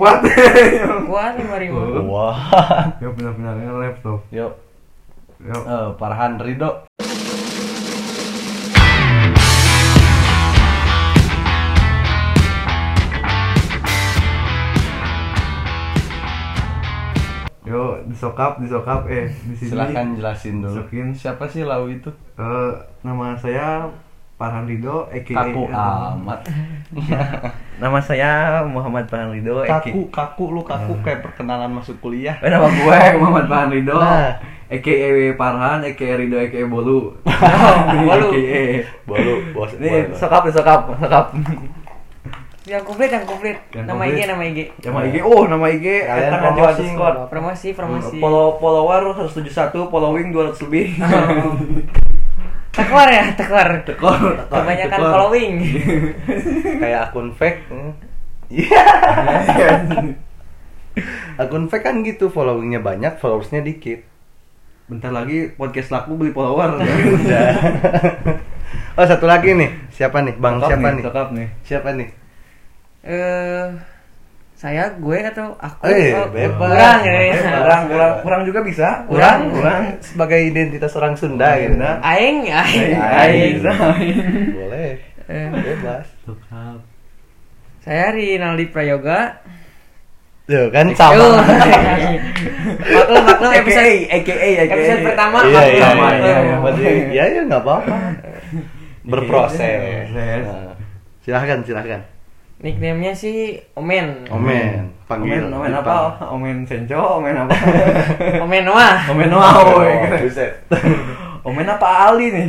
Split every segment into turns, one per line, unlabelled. Kuat.
Kuat lima ribu.
Oh. Wah.
Yo benar-benar nge-lab tuh.
Yuk,
Yo.
eh, Farhan Ridho.
Yo disokap, disokap eh di sini.
Silahkan jelasin dulu.
Masukin.
Siapa sih Lau itu?
Eh, nama saya Farhan Rido aka
Kaku ah. amat.
Nama saya Muhammad Farhan Ridho.
Kaku, kaku lu kaku kayak perkenalan masuk kuliah.
Eh, nama
gue Muhammad Farhan Rido
Nah.
aka Farhan aka Rido aka Bolu.
Bolu.
Aka.
Baru bos.
Ini sokap, nih, sokap, sokap.
Yang Ya, komplit, yang komplit.
Yang
nama
komplit.
IG, nama IG.
Nama IG, oh nama IG
Kalian
Etan Najwa
promosi.
underscore.
Promosi, promosi.
Oh, Follow follower 171, following 200 lebih.
Tekor ya, tekor.
Tekor, tekor,
Kebanyakan
tekor.
following.
Kayak akun fake. hmm. Iya.
iya.
akun fake kan gitu, followingnya banyak, followersnya dikit.
Bentar lagi podcast laku beli follower.
Udah. oh satu lagi nih, siapa nih? Bang
Cakap
siapa nih?
Cakap nih.
Siapa nih?
Eh, saya gue atau aku?
Eh,
Oh,
bebas.
Kurang ya.
Bebas.
Kurang, kurang, kurang juga bisa.
Kurang,
kurang sebagai identitas orang Sunda gitu.
Aing, aing,
Aing.
aing.
Boleh.
Eh,
Bebas.
Cakap.
saya Rinaldi Prayoga.
Tuh kan
Yo.
sama.
maklum, maklum episode
AKA,
episode pertama
Iya
maklum,
iya iya, iya.
maklum.
iya. Berarti ya ya nggak apa-apa. Berproses.
Berproses.
Nah, silahkan silahkan.
Nickname-nya sih Omen.
Omen, panggil.
Omen, omen apa? Omen senco, omen apa?
Omen wah.
omen wow.
Wow, Oh, buset.
Omen apa Ali nih?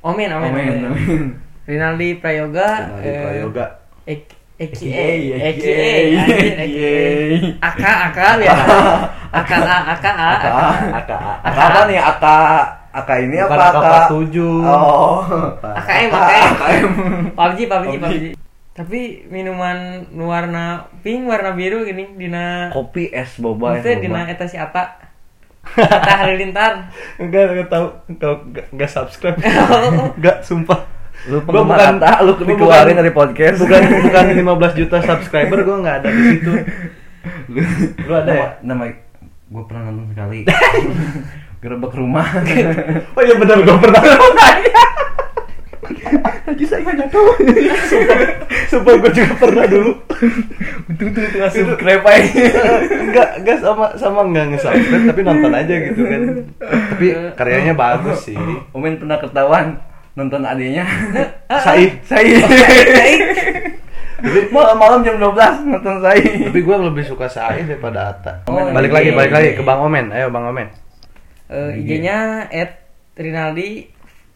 Omen, omen.
Omen,
omen.
omen.
Rinaldi Prayoga.
Kenali
eh,
Prayoga.
Ek- Eki
Eki,
Eki
Eki, Eki.
Aka Aka biasa. Aka A Aka A.
Aka,
Aka
Aka apa nih? Aka, Aka ini
Bukan
apa?
Aka
Aka
tujuh.
Oh.
Aka M Aka M.
AKM.
PUBG PUBG
PUBG.
PUBG. Tapi minuman warna pink, warna biru gini dina
Kopi es boba es
Maksudnya dina
boba.
eta si Ata. Ata Halilintar.
Enggak, enggak tahu. Enggak, enggak, enggak subscribe. Enggak, sumpah.
Lu
Gua
penggemar
bukan-
Atta, lu
gua
dikeluarin
bukan-
dari podcast.
Bukan bukan 15 juta subscriber gua enggak ada di situ. Lu ada ya?
Nama, gue pernah nonton sekali. Gerebek rumah.
Oh iya benar gua pernah.
Tadi saya nggak tahu.
Sumpah gua juga pernah dulu.
Untung tuh itu nggak subscribe aja.
enggak, enggak sama sama enggak nge-subscribe tapi nonton aja gitu kan. Tapi karyanya bagus sih.
Omen pernah ketahuan nonton adiknya.
Ah, Oh, Said,
Saya.
Eh, Iya.
Malam-malam jam 12 nonton saya.
tapi gua lebih suka Said daripada Atta.
Oh,
balik
iya.
lagi, balik lagi ke Bang Omen. Ayo Bang Omen.
Eh, IG-nya @rinaldi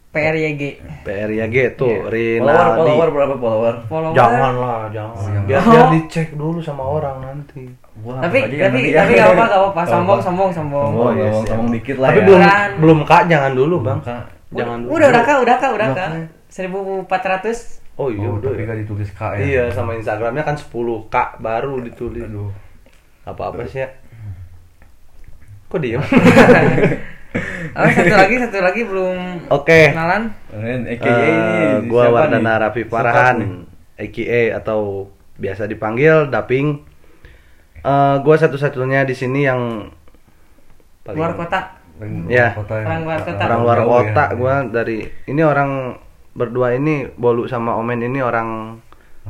PRYG.
PRYG tuh,
Iya. Follower,
Rinaldi.
follower berapa follower? Oh.
Follower.
Janganlah, jangan. Biar, biar dicek dulu sama orang nanti.
Wah,
Tapi
tadi yang
tapi
tadi ya.
tapi enggak apa enggak apa-apa. Sombong sombong sombong.
Oh, iya, ngomong- ngomong
siap.
dikit lah
Tapi
ya.
belum
Kan.
belum kak jangan dulu bang.
Kak.
Jangan dulu.
Udah, udah kak, udah kak, udah kak.
Makanya.
1400
Oh iya
Oh,
udah.
tapi gak ditulis K ya.
Iya sama Instagramnya kan 10 kak baru ditulis. Aduh. Apa apa sih ya? Kok diem?
Oh, satu lagi, satu lagi belum
Oke.
kenalan.
Keren, AKA
Eh,
ini.
gua
siapa
Wardana
nih?
Raffi
Sokap nih.
Parahan, EKE atau biasa dipanggil Daping. Eh gua satu-satunya di sini yang paling-
Luar kota.
Ya.
Kota yang-
Orang luar kota.
orang luar
jauh ya.
kota gua dari ini orang berdua ini Bolu sama Omen ini orang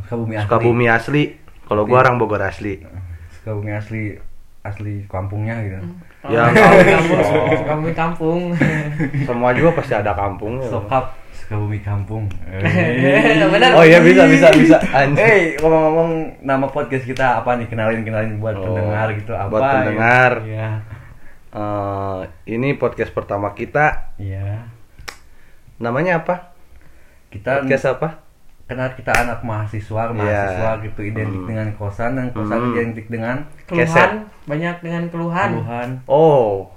Sukabumi asli.
Sukabumi asli. Iya. Kalau gua orang Bogor asli.
Sukabumi asli asli kampungnya gitu.
Hmm.
Ya,
Oh, Kampung kampung.
semua juga pasti ada kampungnya.
Sokap Sukabumi kampung. Eh,
Benar.
Oh iya bisa bisa bisa. Anjing.
Hey, ngomong-ngomong nama podcast kita apa nih? Kenalin kenalin buat
Oh,
pendengar gitu apa?
buat
ya?
pendengar.
Iya.
Eh, ini podcast pertama kita.
Iya.
Namanya apa?
Kita
Podcast apa? Iya.
kenal kita anak mahasiswa, mahasiswa gitu identik
Hmm.
dengan kosan dan kosan
Hmm.
identik dengan
Keluhan
Keset.
banyak dengan keluhan.
keluhan,
Oh.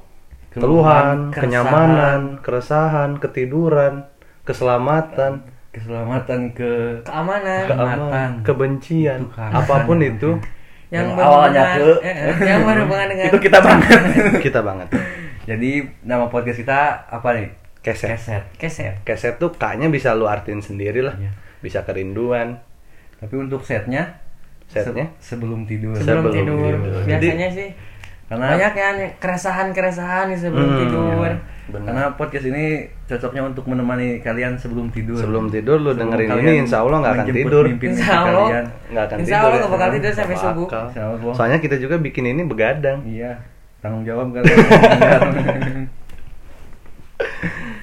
Keluhan,
keresahan,
kenyamanan, keresahan, ketiduran, keselamatan,
keselamatan ke
Keamanan.
Keamatan.
keamanan, kebencian,
Itu kan.
apapun itu
Yang
yang berhubungan,
awalnya ke-
eh, eh, yang berhubungan dengan
itu kita banget.
kita banget.
Jadi nama podcast kita apa nih?
Keset.
Keset.
keset.
Keset tuh kayaknya bisa lu artiin sendiri lah.
Iya.
Bisa kerinduan.
Tapi untuk setnya
setnya.
Se- sebelum tidur.
sebelum,
Sebelum
tidur.
tidur.
Biasanya sih
Karena
banyak ya nih, keresahan-keresahan nih sebelum
Nah. Hmm,
tidur.
Benar.
karena podcast ini cocoknya untuk menemani kalian sebelum tidur.
Sebelum tidur lu
Sebelum
dengerin
kalian
ini, insya Allah nggak akan
menjemput
tidur.
mimpi-mimpi
Insya Allah.
kalian.
Nggak akan
Insya
tidur.
Allah
ya.
nggak bakal tidur sampai
Nggak
subuh.
bakal.
Insya Allah.
Soalnya kita juga bikin ini begadang.
Iya, tanggung jawab kalian.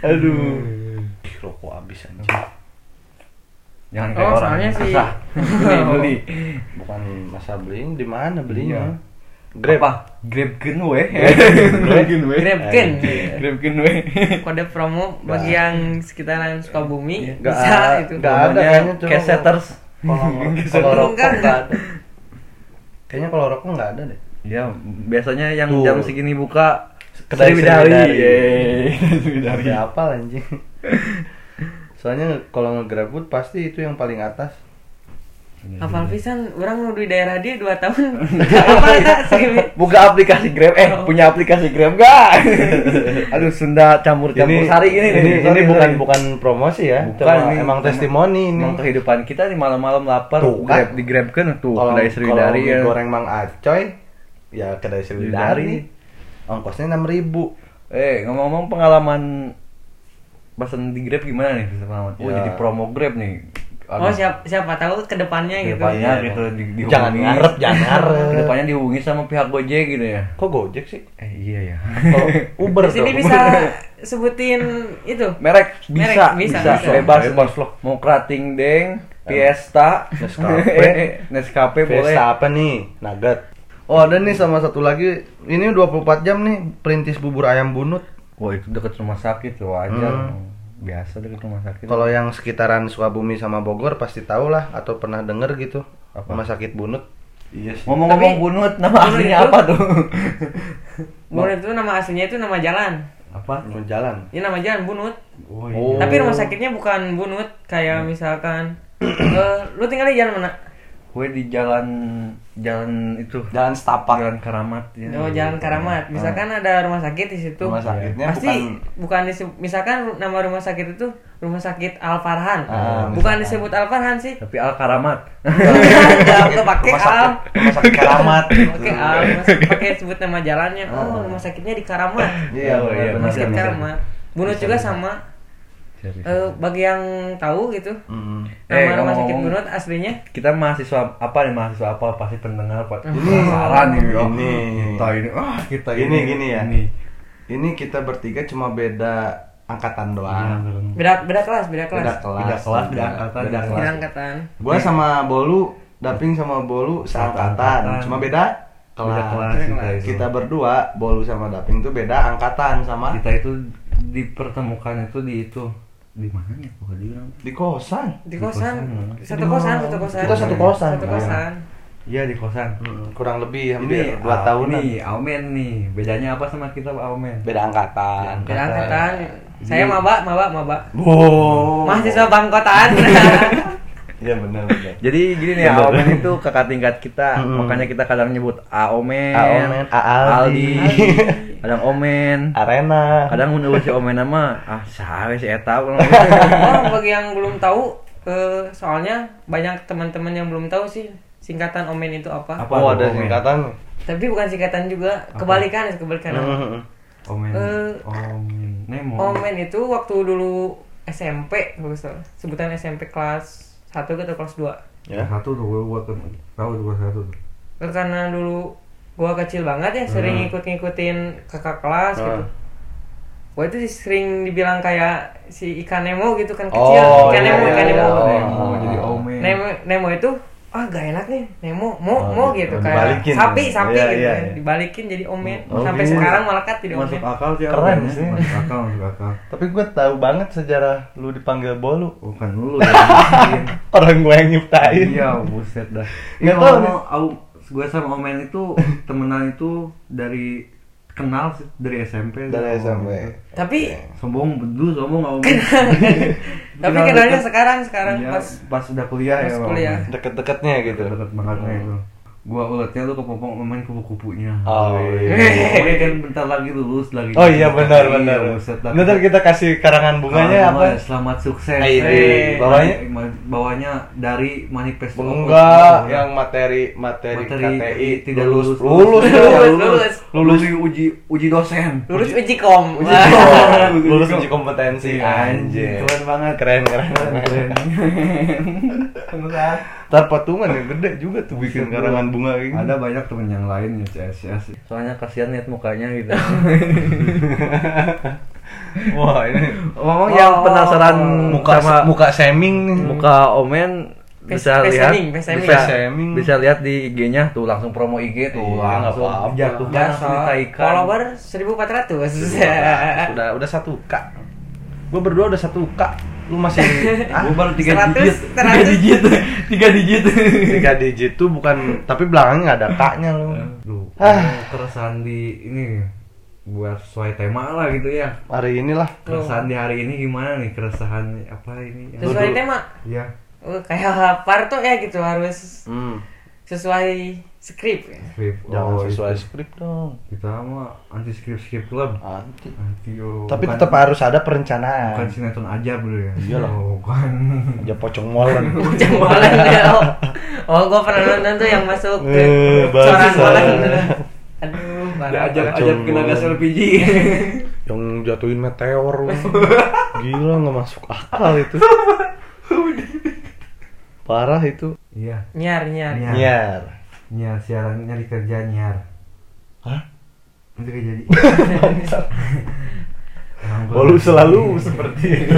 Aduh. Ih, Rokok habis anjir.
Jangan
Oh, soalnya sih.
Susah. Beli, beli.
Bukan masa beliin di
Iya.
mana belinya?
Apa?
Grab.
Grabkin we.
Grabkin
we.
Grabkin.
Anjir.
Grabkin we.
Kode promo bagi
Nggak. Iya.
yang sekitaran Sukabumi
Nggak
bisa
a-
itu.
nggak ada
Namanya
kayaknya cuma-
Caseters.
Kalau
Enggak,
kalau rokok
enggak.
nggak ada. Kayaknya kalau rokok nggak ada deh.
Ya, biasanya yang
Tuh.
jam segini buka Iya.
Kedai
Sriwidari.
Sriwidari.
Yeay, Sriwidari.
Ada apa anjing? Soalnya kalau ngegrabut pasti itu yang paling atas. Hmm.
Hafal pisan orang nu di daerah dia 2 tahun. Apa ya? Segini.
Buka aplikasi Grab eh punya aplikasi Grab enggak? Aduh Sunda campur-campur sari ini
ini,
nih.
ini
Sorry,
bukan
sorry.
bukan promosi ya.
Bukan,
Cuma
kan ini
emang
emang-
testimoni ini.
Emang kehidupan kita nih malam-malam lapar,
Tuh,
grab,
kan?
di grab kan tuh
kalau
kedai
kalau
Sriwidari
mie
ya.
goreng Mang Acoy ya kedai Sriwidari. Ongkosnya 6000.
Eh, ngomong-ngomong pengalaman pesan di Grab gimana nih pengalaman? Oh,
Ya.
jadi promo Grab nih.
Oh siapa siapa tahu kedepannya gitu.
Kedepannya
Iya.
gitu di, dihubungi.
Jangan ngarep, jangan ngarep.
Kedepannya dihubungi sama pihak Gojek gitu ya.
Kok Gojek sih?
Eh, iya ya.
Kalau Uber
Di sini
dong.
bisa sebutin itu.
Merek bisa,
Merek, bisa,
bisa,
bisa.
bebas,
Bebas
loh. Mau kerating deng, Fiesta,
Nescafe.
Nescafe boleh.
Fiesta apa nih? Nugget. Oh ada nih sama satu lagi, ini 24 jam nih, perintis bubur ayam bunut.
Wah, itu deket rumah sakit tuh
Hmm.
wajar. Biasa deket rumah sakit.
Kalau yang sekitaran Sukabumi sama Bogor pasti tau lah atau pernah denger gitu
Apa?
rumah sakit bunut. Iya sih.
ngomong-ngomong
Tapi-
bunut, nama
Bunut
aslinya
itu-
apa tuh?
Bunut itu nama aslinya itu nama jalan.
apa?
jalan.
Ini nama jalan Bunut.
Oh. Hmm.
Tapi rumah sakitnya bukan Bunut kayak misalkan eh, lu tinggal di jalan mana?
Gue di jalan jalan itu
Jalan setapak.
jalan Karamat ya.
Oh, jalan Karamat. Misalkan ada rumah sakit di situ.
Rumah sakitnya
pasti
bukan-
bukan, disebut, misalkan ru- nama rumah sakit itu Rumah Sakit Al Farhan.
Ah,
bukan disebut Al Farhan sih.
Tapi Al Karamat.
Enggak kepake Al.
Rumah sakit, rumah sakit gitu. keramat.
Oke, Al Mas- pakai sebut nama jalannya. Oh, rumah sakitnya di Karamat.
Iya,
Oh, iya,
Rumah
benar, benar,
sakit
bisa.
benar.
Karamat. Bunut juga sama. Eh, bagi yang tahu gitu.
Mm.
Nama
Eh,
rumah sakit
ngomong-ngomong.
Bunut aslinya
Kita mahasiswa apa nih mahasiswa apa pasti pendengar Pak. Penasaran nih. oh.
Ini.
Kita ini. Ah, kita
Gini, gini ya.
Ini.
Ini kita bertiga cuma beda
Ah.
angkatan doang.
beda beda kelas, beda kelas.
Iya, Beda
Beda kelas, beda
kelas. beda-
angkatan.
beda
Beda
Beda
kelas.
angkatan.
Gua sama Bolu, Daping sama Bolu
Seangkatan.
seangkatan, cuma beda kelas.
Beda kelas kita itu.
Kita berdua, Bolu sama Daping tuh beda angkatan sama
Kita itu dipertemukan itu di itu di mana ya? Kok di mana?
di kosan.
Di kosan,
kosan.
satu kosan, satu kosan.
Kita satu kosan.
Satu kosan.
Iya di kosan.
Kurang
Ini
lebih hampir 2 tahunan.
Nih, Aumen nih. Bedanya apa sama kita Aumen?
Beda angkatan.
Beda angkatan. Saya maba, maba, maba.
Wow.
Mahasiswa bangkotan.
Iya benar benar.
Jadi gini nih,
Bener.
Aomen itu kakak tingkat kita,
Mm-mm.
makanya kita kadang nyebut Aomen,
Aomen, Aaldi.
Aldi, kadang Omen,
Arena.
kadang mun si Omen nama, ah sahwe si Eta, ulah.
Oh, bagi yang belum tahu, eh, soalnya banyak teman-teman yang belum tahu sih singkatan omen itu apa.
Apa?
oh, ada
Omen?
singkatan.
Tapi bukan singkatan juga, kebalikan ya, kebalikan.
Mm.
Omen,
Eh.
Omen, Nemo,
Omen itu waktu dulu SMP, kalau nggak salah. sebutan SMP kelas 1 atau kelas 2.
Ya.
satu tuh gue buat tahu tuh gua satu tuh.
karena dulu gua kecil banget ya
Hmm.
sering ngikut-ngikutin kakak kelas gitu
Ah.
gua itu sih sering dibilang kayak si ikan Nemo gitu kan kecil
Oh,
ikan
iya,
Nemo
iya,
ikan
iya.
Nemo
Oh,
Nemo
oh,
jadi
oh.
Omen,
Nemo Nemo itu ah gak enak nih Nemo mo mo gitu
gitu.
kayak
Dibalikin.
sapi sapi
Iya,
gitu
iya,
ya.
iya.
dibalikin jadi omen
Oh,
sampai
iya.
sekarang melekat jadi omen
masuk akal sih,
Keren
Omen, ya.
sih.
masuk akal, masuk akal,
Tapi gue tahu banget sejarah lu dipanggil Bolu.
bukan Oh, kan lu, ya.
Orang gue yang nyiptain.
Iya, buset dah.
Nggak
Nggak
tahu
tahu. Gue sama Omen itu temenan itu dari kenal sih, dari SMP.
Dari
sama
SMP.
Omen itu.
tapi
Iya.
Sombong, bedu, sombong nggak Omen.
tapi
Kenal
kenalnya
deket.
sekarang sekarang
Iya,
pas
pas udah kuliah
pas
ya. sama
kuliah.
Omen.
Deket-deketnya gitu.
Deket banget itu. gua uletnya lu kepompong main kupu-kupunya
Oh,
iya. Pokoknya kan bentar lagi lulus lagi
Oh iya benar
Iya,
benar.
buset lah.
Nanti kita kasih karangan bunganya
Selamat-
apa?
selamat sukses
Eh,
Eh,
iya. Bawahnya?
ma- bawahnya dari manifest
Enggak, yang materi materi, KTI
tidak
lulus
lulus
Lulus,
lulus dong.
lulus.
lulus uji uji dosen
Lurus uji kom.
Uji
Wah.
kom.
Uji
Oh, lulus
kom.
uji kompetensi
Iya,
anjir.
keren banget.
Keren keren. keren. Ntar patungan yang gede juga tuh bikin karangan bunga kayak gitu.
ada banyak temen yang lain ya CS soalnya kasihan lihat mukanya gitu
Wah, ini
ngomong yang penasaran
muka
sama
muka seming nih.
muka Omen
Face-
bisa
face
lihat
aiming, face aiming.
bisa
Face aiming.
bisa lihat di IG-nya tuh langsung promo IG tuh
Iya,
langsung
nggak apa-apa.
jatuh kan
Biasa.
langsung ditaikan
Follower 1400.
udah udah satu k gue berdua udah satu k lu masih
Gua baru tiga
100,
digit tiga
100.
digit tiga digit
tiga digit tuh bukan tapi belakangnya nggak ada k-nya lu
Duh,
Ah.
keresahan di ini buat sesuai tema lah gitu ya
hari inilah
keresahan di hari ini gimana nih keresahan apa ini Yang-
Sesuai
Lu-
tema.
ya
Uh, kayak Parto ya gitu harus
hmm,
sesuai skrip. ya.
skrip
jangan
Oh,
sesuai
itu.
skrip dong
kita mah anti skrip skrip club
Anti.
anti oh.
tapi
Bukan-
tetap harus ada
bukan
perencanaan
sinetron aja bro ya
Iyalah.
Oh, bukan
aja pocong molen
Macam bola ya. Oh, oh gue pernah nonton tuh yang masuk ke
Eh,
coran
bangsa.
bola. Aduh, parah.
ajak
Pocong
ajak ke nagas
molen.
LPG
yang jatuhin meteor lu. gila nggak masuk akal itu parah itu
iya
Nyar, nyar.
Nyar.
nyar
nyar siaran nyari kerja nyar
Hah?
nanti gak jadi
Walau Oh, selalu seperti itu.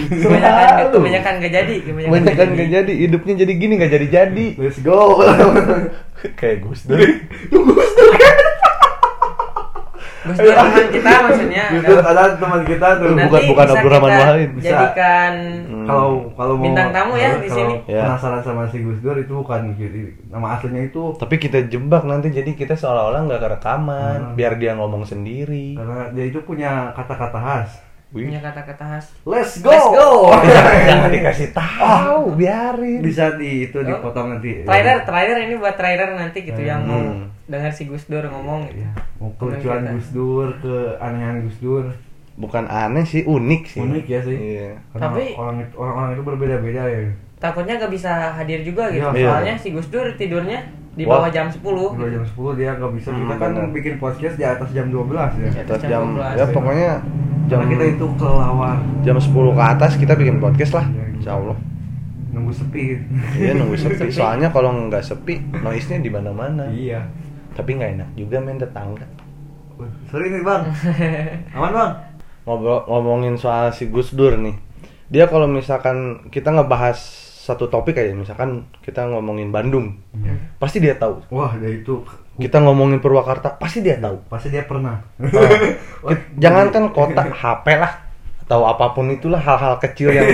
Kebanyakan, gitu,
Selalu.
kebanyakan gak jadi.
Kebanyakan nggak jadi, hidupnya jadi gini nggak jadi jadi.
let's go Hmm.
Kayak Gus Dur.
Gus Dur teman kita maksudnya.
itu ada teman kita tuh
Bukan-
Nanti
bukan
bisa
Abdurrahman
kita
Wahid. Hmm.
Bisa.
Jadikan
kalau kalau mau
Bintang tamu ya di
kalau
sini.
Ya.
penasaran sama si Gus Dur itu bukan gitu. nama aslinya itu
Tapi kita jebak nanti jadi kita seolah-olah nggak kerekaman,
Hmm.
biar dia ngomong sendiri.
karena dia itu punya kata-kata khas
punya
Wih.
kata-kata khas.
let's
Let's
Oh,
go.
Jangan dikasih tahu, biarin.
iya. bisa di itu
Oh.
dipotong nanti
Trailer, trailer ini buat trailer nanti gitu yang mau
Hmm.
dengar si Gus Dur ngomong gitu.
Ya, mau kelucuan
Temen kita.
Gus Dur ke anehan Gus Dur
Bukan aneh sih, unik sih.
unik ya sih
Iya.
karena
Tapi-
orang itu orang, orang itu berbeda-beda ya
Takutnya gak bisa hadir juga gitu.
Iya.
Soalnya si Gus Dur tidurnya di
Wah.
bawah jam 10.
Di bawah
gitu.
jam 10 dia nggak bisa kita
Hmm,
kan
benar.
bikin podcast di atas jam 12 ya
Iya.
Terus
Jam
jam,
12.
ya pokoknya jam
karena kita itu kelawar
jam 10 ke atas kita bikin podcast lah, insya Allah.
nunggu Iya, gitu. sepi
Iya nunggu sepi. Soalnya kalau nggak sepi, noise-nya di mana-mana.
iya
Tapi nggak enak juga main tetangga.
Wah, sorry nih bang aman bang
ngobrol ngomongin soal si Gus Dur nih. Dia kalau misalkan kita ngebahas satu topik aja, misalkan kita ngomongin Bandung,
Iya.
pasti dia tahu.
wah dia itu
Kita ngomongin Purwakarta, pasti dia tahu.
pasti dia pernah
Kit- Jangankan kota, HP lah atau apapun itulah hal-hal kecil yang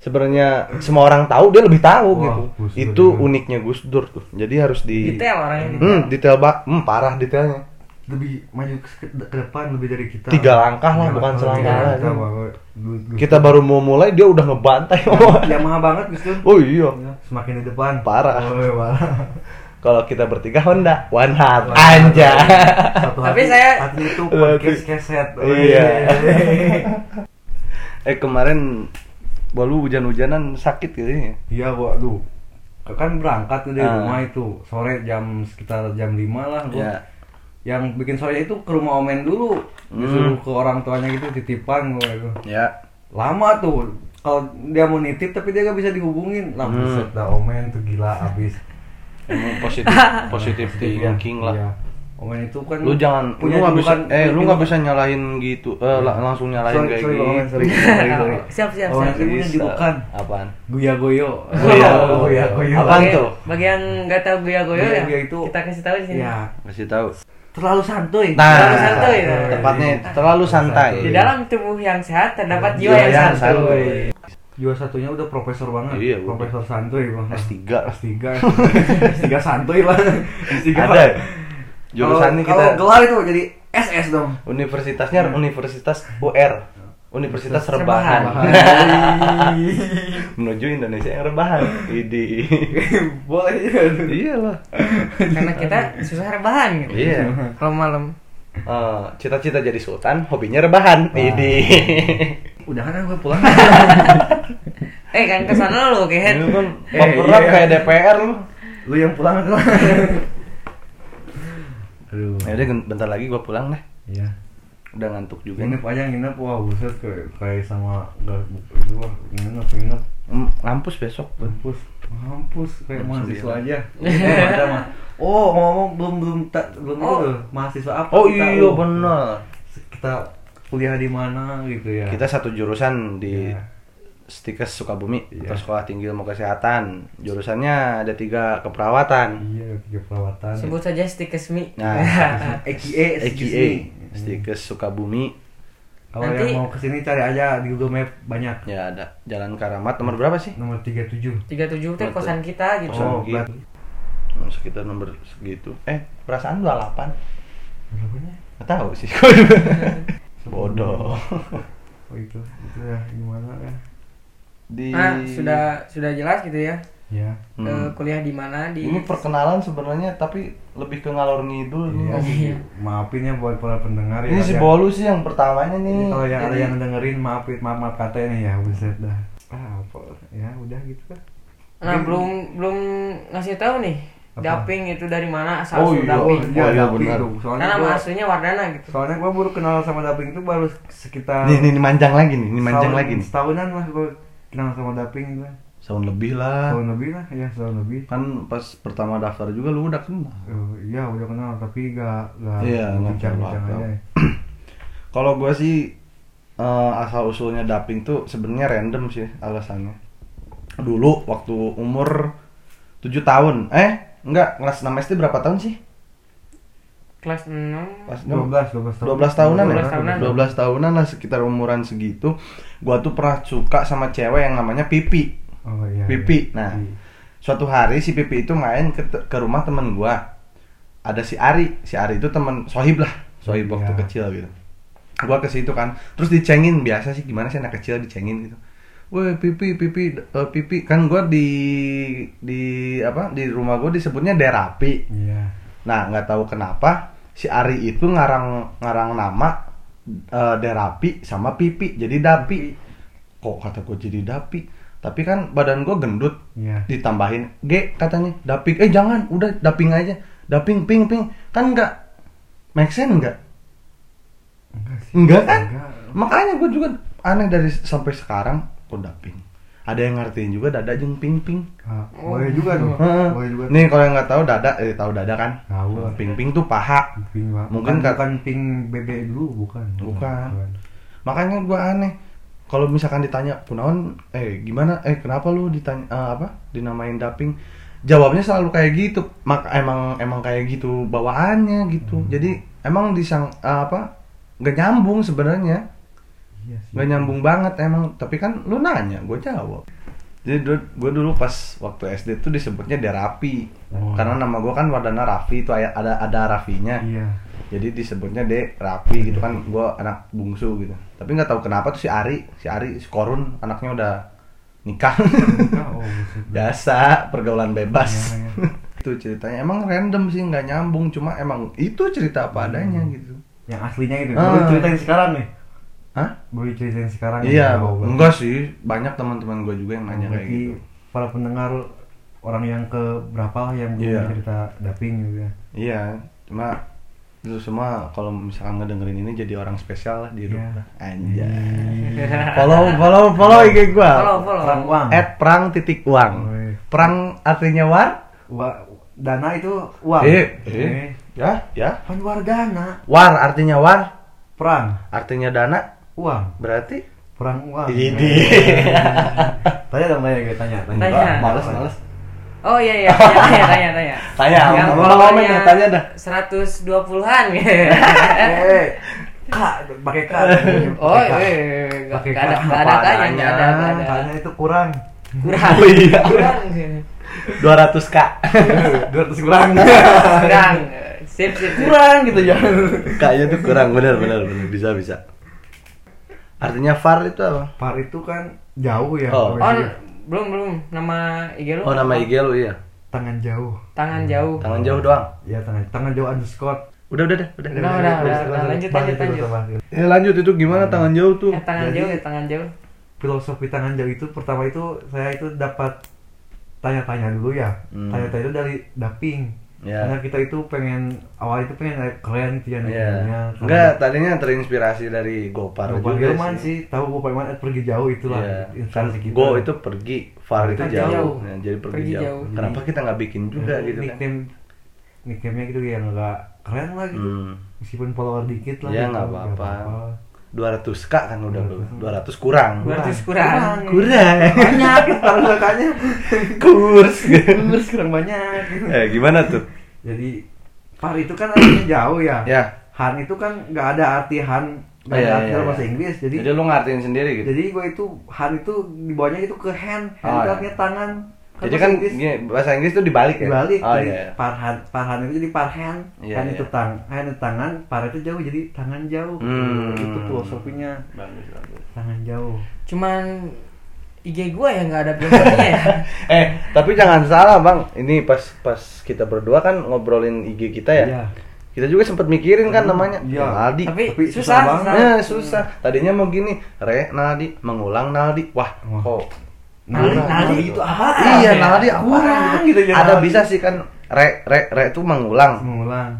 sebenarnya semua orang tahu, dia lebih
Wah,
tahu gitu.
Gus Dur
Itu
juga.
uniknya Gus Dur tuh. Jadi harus di
Detail orangnya detail.
Hmm, detail bak, hmm, parah detailnya.
lebih maju ke, ke depan lebih dari kita
Tiga langkah
Tiga
lah, bukan
langkah,
selangkah
tiga
lah. kan?
langkah, Bang. Gus- Gus-
Kita baru mau mulai dia udah ngebantai.
yang mahal banget Gus Dur
oh iya.
semakin di depan
Parah.
Oh, iya, parah.
Kalau kita bertiga Honda, one half anja.
Satu hati-
Tapi saya-
hatinya itu podcast
Hati.
keset.
Iya. eh kemarin baru hujan-hujanan sakit gitu ya.
Iya, gua aduh. Kan berangkat tuh dari
Ah.
rumah itu sore jam sekitar jam 5 lah gua.
Iya.
Yang bikin sore itu ke rumah Omen dulu. Disuruh
Hmm.
ke orang tuanya gitu titipan gua itu.
Ya.
Lama tuh kalau dia mau nitip tapi dia gak bisa dihubungin. Lah
Hmm.
buset dah Omen tuh gila abis.
Emang positif positif thinking
Iya.
lah.
Omen itu kan
Lu jangan lu nggak bisa
julukan-
eh lu
punya
nggak bisa nyalahin gitu. Eh la- langsung
Hmm.
nyalahin
Sorry,
kayak
sorry,
gitu.
Bang Omen, sorry.
Siap, siap,
Omen
siap.
itu punya julukan.
Apaan?
Guya goyo.
Guya goyo.
Guya goyo.
Apaan
Bagi-
tuh?
Bagi yang nggak tahu Guya Goyo
Guya
ya,
Goyo itu-
kita kasih tahu di sini.
Ya,
Kasih tahu.
terlalu santuy.
Terlalu santuy.
Nah, Tepatnya terlalu santai.
Di dalam tubuh yang sehat terdapat jiwa
Jiwa
yang
yang
santuy.
santuy.
Jiwa satunya udah profesor banget.
Iya, udah.
profesor santuy bang.
S tiga.
S tiga. S tiga santuy lah. S tiga.
Ada. Jurusannya
Kalau- Kalau
kita
gelar itu jadi SS dong.
universitasnya universitas UR. Universitas Rebahan menuju Indonesia yang rebahan. Idi. Iya
Boleh ya.
Iyalah.
karena kita susah rebahan gitu
Iya.
kalau malam
Eh, cita-cita jadi sultan, hobinya rebahan. Idi.
Udah kan gue pulang.
eh kan kesana lu
Lu
kayak
kan
Eh,
baperan
iya.
kayak DPR lu.
Lu yang pulang kan. Aduh.
Ya udah gen- bentar lagi gua pulang deh.
Iya.
Udah ngantuk juga. nih.
Nginep aja nginep wah buset kayak kayak sama gak itu wah nginep nginep
Mm, Ngampus besok gua.
mampus mampus kayak
Jam
mahasiswa
sembilan.
aja.
iya.
Eh, ada mah. Oh, ngomong belum belum tak belum
Oh.
itu mahasiswa apa?
Oh
kita?
iya
Oh,
bener.
Kita kuliah di mana gitu ya.
Kita satu jurusan di
Iya.
Stikes Sukabumi
Iya.
atau Sekolah Tinggi Ilmu Kesehatan. Jurusannya ada tiga keperawatan.
iya tiga perawatan.
sebut saja stikesmi
Nah,
EKE, excuse
EKA,
me.
Stikes Sukabumi.
Hmm. Kalau
Nanti-
yang mau kesini cari aja di Google Map banyak.
Ya ada Jalan Karamat nomor berapa sih?
Nomor 37.
tiga tujuh teh
Betul.
kosan kita gitu
Kosan.
Oh,
Gitu.
berarti.
Hmm, Sekitar nomor segitu. Eh, perasaan lu 8.
Berapanya?
Nggak tahu sih. Bodoh.
Oh itu, itu ya gimana ya?
Di
nah sudah sudah jelas gitu ya
Ya.
Hmm.
Eh, kuliah di mana di
Ini perkenalan sebenarnya tapi lebih ke ngalor ngidul
Iya
nih.
sih. Maafin ya buat para pendengar
Oh, Ini
ya.
si
ya.
Bolu sih yang pertamanya
Ini
nih.
kalau yang ada
Jadi-
yang dengerin maafin maaf maaf katanya nih ya buset dah. Ah, apa? Ya udah gitu kan.
nah belum belum ngasih tahu nih
Apa?
daping itu dari mana asal
Oh
usul
iya,
daping
oh iya,
Daping
benar.
tuh. Soalnya
karena nama
gua,
aslinya Wardana gitu
soalnya gua baru kenal sama Daping itu baru sekitar
Nih, nih, nih manjang lagi nih, ini
setahun-
manjang lagi nih. Ah.
Setahunan lah gua kenal sama Daping gua.
Tahun lebih lah.
Tahun lebih lah, ya tahun lebih.
Kan pas pertama daftar juga kan. lu udah kenal.
Oh, iya udah kenal tapi gak gak
Iya, nggak
bincang-bincang
terlalu
aja.
akrab. Kalau gua sih eh, asal usulnya daping tuh sebenarnya random sih alasannya. Dulu waktu umur 7 tahun, eh enggak kelas 6 SD berapa tahun sih?
kelas 6
Pas
12 12 tahun.
12 tahunan
12
ya?
tahunan.
12 tahunan lah sekitar umuran segitu. Gua tuh pernah suka sama cewek yang namanya Pipi.
Oh iya.
Pipi.
iya.
Nah,
Iya.
suatu hari si Pipi itu main ke, ke rumah temen gua. Ada si Ari, si Ari itu temen sohib lah, sohib waktu
Iya.
kecil gitu. Gua ke situ kan, terus dicengin biasa sih gimana sih anak kecil dicengin gitu. Woi pipi pipi eh, pipi kan gua di di apa di rumah gua disebutnya derapi.
Iya.
Nah nggak tahu kenapa si Ari itu ngarang ngarang nama eh, derapi sama pipi jadi dapi. Kok kata gua jadi dapi? Tapi kan badan gua gendut,
Iya.
ditambahin G katanya daping eh jangan udah daping aja daping ping ping kan nggak make sense nggak
Enggak sih.
enggak kan
Enggak.
makanya gue juga aneh dari sampai sekarang kok daping ada yang ngertiin juga dada jeng ping ping
Ah, boleh juga tuh.
Oh. Heeh.
Boleh juga.
nih kalau yang nggak tahu dada eh tahu dada kan
Tahu lah.
ping ping tuh paha
Ping, Pak.
Mungkin
bukan,
kan-
bukan ping BB dulu bukan.
Bukan. makanya gue aneh kalau misalkan ditanya kunaon eh gimana eh kenapa lu ditanya eh, apa dinamain daping jawabnya selalu kayak gitu mak emang emang kayak gitu bawaannya
Hmm.
gitu jadi emang disang eh, apa nggak nyambung sebenarnya
Iya sih.
nggak nyambung banget emang tapi kan lu nanya gue jawab jadi gue dulu pas waktu SD tuh disebutnya derapi
Oh.
karena nama gue kan Wardana Raffi itu ada ada Rafinya
Iya.
jadi disebutnya de rapi gitu kan gue anak bungsu gitu tapi nggak tahu kenapa tuh si Ari si Ari si Korun anaknya udah nikah
Enggak, oh, buset.
Ya. biasa pergaulan bebas
Iya,
itu ceritanya emang random sih nggak nyambung cuma emang itu cerita
Hmm.
apa adanya gitu
Yang aslinya itu.
Ah.
Boleh ceritain sekarang nih.
Hah?
Boleh ceritain sekarang. Ya,
iya
Allah.
enggak sih banyak teman-teman gue juga yang nanya kayak
Berarti
gitu
para pendengar orang yang ke berapa lah yang belum
Iya.
cerita daping gitu ya.
iya cuma itu semua kalau misalkan ngedengerin ini jadi orang spesial lah di
Iya.
rumah anjay follow follow follow IG gue
follow
Perang
follow
uang.
at perang titik uang
Wih.
perang artinya war
Wa- dana itu uang. Eh.
ya ya
Kan war dana,
war artinya war
perang
artinya dana
uang,
berarti
perang uang.
Ini.
Tanya dong tanya, gue tanya, Eh. tanya.
Tanya.
Ah, males males
oh iya iya tanya tanya tanya, tanya.
Tanya,
yang
apa-apa komen
followernya
ya, tanya dah.
120-an
Eh, kak, pakai kak.
oh
Pakai K.
iya nggak
Pakai K.
nggak ada nggak ada
Apa
tanya nggak ada
adanya.
nggak ada
Tanya itu kurang.
kurang
Oh, iya.
kurang
200 k
200 kurang.
kurang sip sip sip.
kurang gitu ya.
kayaknya tuh kurang bener bener bener bisa bisa Artinya far itu apa?
Par itu kan jauh ya.
Oh,
Oh.
namanya.
belum belum nama IG lu.
Oh nama IG lu iya.
Tangan jauh.
Tangan jauh.
Tangan jauh doang.
Ya tangan tangan jauh underscore.
Udah udah udah. udah.
Udah, udah, udah, udah, lanjut, lanjut,
Bahas itu,
lanjut.
bahas itu.
Eh lanjut itu gimana tangan jauh tuh?
Eh, tangan
Jadi-
jauh, ya, tangan jauh.
Filosofi tangan jauh itu pertama itu saya itu dapat tanya-tanya dulu ya.
Hmm.
Tanya-tanya itu dari daping.
Ya.
Karena kita itu pengen awal itu pengen kayak keren gitu ya. namanya.
Iya. Enggak, tadinya terinspirasi dari Gopar
Bapak
juga
Ilman
sih.
sih, tahu Bapak Ilman eh, pergi jauh itulah
Iya.
instansi kita.
Go itu pergi, Far itu
Pergi
jauh.
jauh.
Ya, jadi pergi,
Pergi
jauh.
jauh.
Kenapa kita nggak bikin juga
Ya,
gitu kan?
nickname nickname-nya gitu yang enggak keren lah gitu.
Hmm.
Meskipun follower dikit lah.
Ya
gitu,
nggak
nggak
apa-apa. 200 k kan udah lu.
Hmm.
200 kurang.
200 kurang.
iya.
Kurang.
Banyak taruh kakaknya.
Kurs.
Terus kurang banyak. gitu.
eh gimana tuh?
Jadi par itu kan artinya jauh ya.
Ya.
Han itu kan nggak ada arti han, nggak ada
Iya, iya,
arti
iya.
dalam bahasa Inggris. Jadi
Jadi lu ngartiin sendiri gitu.
jadi gue itu han itu dibawanya itu ke hand, hand
Oh,
itu
iya.
artinya tangan.
Jadi
bahasa
kan
Inggris.
gini, bahasa Inggris tuh dibalik ya?
dibalik
Oh,
jadi
iya, iya.
parhan parhan itu jadi parhan
Iya,
kan
iya.
itu tang kan itu tangan par itu jauh jadi tangan jauh
Hmm.
itu filosofinya
Bagus, bagus.
tangan jauh
Cuman IG gua yang nggak ada filosofinya ya.
Eh, tapi jangan salah, Bang. Ini pas pas kita berdua kan ngobrolin IG kita ya.
Iya.
Kita juga sempat mikirin kan
Hmm,
namanya.
iya.
Naldi.
Tapi,
Tapi susah
susah,
banget.
susah.
Eh, susah. Tadinya mau gini, Re Naldi, mengulang Naldi. Wah,
Wah.
kok
Naldi-
kurang
Naldi
gitu.
itu apa?
Iya,
Ya,
Naldi apa?
kurang gitu ya,
Ada
Naldi.
bisa sih kan Re Re Re itu mengulang.
mengulang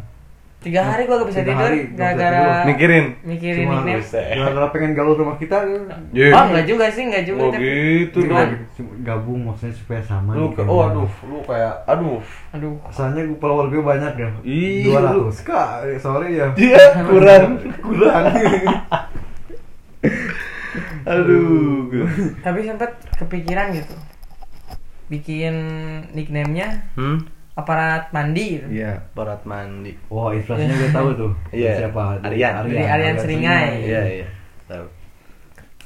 Tiga hari gua gak bisa
Tiga
tidur
hari nggak bisa
gara-gara
tidur.
Mikirin.
mikirin
cuma
nickname.
gara-gara pengen gaul rumah kita eh,
Ye.
Oh, enggak juga sih, enggak juga.
Oh,
tapi-
gitu
cuman,
dong.
gabung maksudnya supaya sama
Lu
gitu.
ke- oh aduh, lu kayak aduh.
Aduh.
soalnya gue follower gue banyak ya
Ih,
dua
lu.
ratus k sorry ya
Dia kurang.
kurang
Aduh.
Tapi sempet kepikiran gitu. Bikin nickname-nya
Hmm?
aparat mandi gitu.
iya
Barat mandi.
Wah, inflasinya gue tahu tuh.
Iya.
Siapa?
Aryan.
Dari Aryan Seringai.
Iya, iya. Tahu.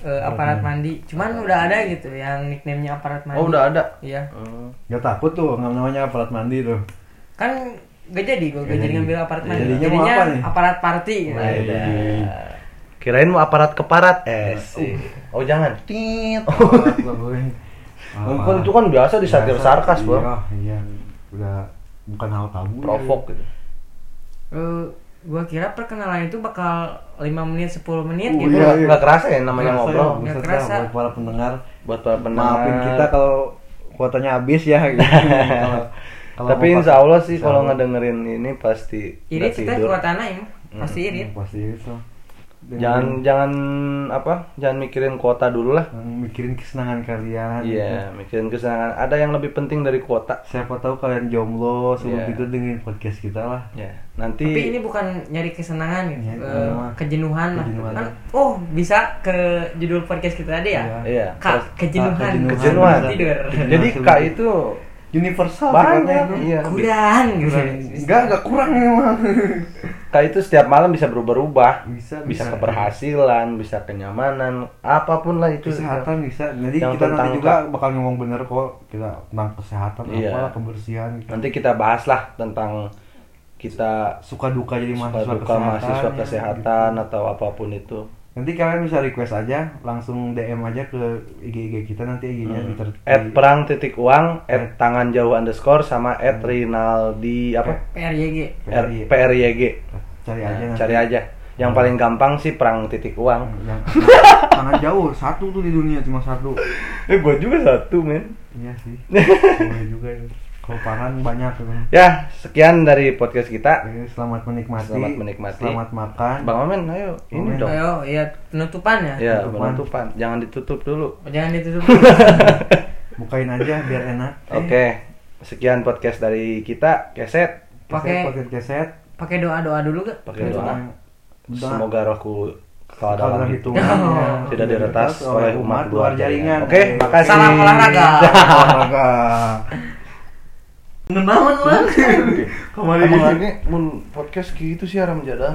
Eh, aparat
Iya.
mandi. Cuman udah ada gitu yang nickname-nya aparat mandi.
Oh, udah ada.
Iya.
Hmm.
Gak takut tuh namanya aparat mandi tuh.
Kan gak jadi gua gak
Nggak
jadi
jadi. Iya.
ngambil aparat mandi.
Jadinya mau
Jadinya
apa nih?
aparat party gitu.
Wah,
Ada. Kirain mau aparat keparat. Eh, sih. Oh, jangan. Oh. Tit. Mumpun itu kan biasa di satir sarkas,
bro.
Bang.
Iya, udah bukan hal tabu.
Provok gitu.
Eh, gua kira perkenalan itu bakal 5 menit 10 menit
Oh,
gitu.
iya.
Nggak nggak kerasa ya namanya
Namanya
ngobrol.
ngobrol,
Nggak
nggak
kerasa.
kerasa. Buat para pendengar,
Buat para pendengar.
maafin kita kalau kuotanya habis ya. Gitu. Kalau- kalau
Tapi
mau
insya
pas-
Allah sih
insya
kalau
Allah.
ngedengerin ini pasti
Irit
nggak
kita
tidur.
kuat tanah ya. Pasti irit.
Iya, Pasti itu.
Jangan
Iya.
jangan apa? Jangan mikirin kuota dulu lah.
Jangan mikirin kesenangan kalian. gitu.
Iya, mikirin kesenangan. Ada yang lebih penting dari kuota.
Siapa tahu kalian jomblo, sebelum
Iya.
tidur dengerin podcast kita lah.
Ya, nanti
Tapi ini bukan nyari kesenangan gitu.
Nyari
Eh,
kesenangan.
kejenuhan lah.
Kejenuhan.
Kan, oh, bisa ke judul podcast kita tadi ya.
Iya.
Kak,
Kak,
kejenuhan.
kejenuhan.
kejenuhan.
Tidur.
Jadi
Iya.
Kak itu
Universal
banyak. Iya.
Kurang gitu.
Enggak, enggak kurang emang.
Kak itu setiap malam bisa berubah-ubah.
Bisa, bisa.
bisa, keberhasilan, bisa kenyamanan, apapun lah itu.
Kesehatan bisa. Jadi
Yang
kita nanti
tentang
juga
Kak.
bakal ngomong bener kok kita tentang kesehatan
Iya.
apalah kebersihan.
Nanti kita bahas lah tentang kita
suka duka jadi
suka
mahasiswa
duka
kesehatan.
mahasiswa
ya,
kesehatan
gitu.
atau apapun itu.
Nanti kalian bisa request aja langsung DM aja ke IG IG kita nanti IG-nya di ter-
Hmm. At
di-
perang titik uang, at tangan jauh underscore sama at
Hmm.
Rinaldi apa?
PRYG.
PRI.
R- PRYG.
cari aja
Nah,
nanti. Hmm.
cari aja. Yang paling gampang sih perang titik uang.
Yang tangan jauh satu tuh di dunia cuma satu.
Eh gua juga satu men.
Iya sih. Boleh juga itu. Kalau parhan banyak emang.
Ya sekian dari podcast kita.
Oke, Selamat menikmati.
Selamat menikmati.
Selamat makan.
Bang Omen, ayo ini
Omen.
dong.
Ayo, ya penutupan ya.
Ya,
Penutupan.
penutupan. Jangan ditutup dulu.
Jangan ditutup.
Bukain aja biar enak.
Oke. Sekian podcast dari kita, Keset.
Pakai
Pakai
pakai keset.
pakai doa-doa dulu gak?
Pakai doa.
Semoga
Semoga rohku kalau
kalau
dalam
dalam
hitungan
hitungannya
tidak diretas oleh umat luar jaringan. Oke,
Oke,
makasih.
Salam olahraga.
olahraga.
Ngenawan lah.
Kemarin
mun podcast gitu sih haram jadah.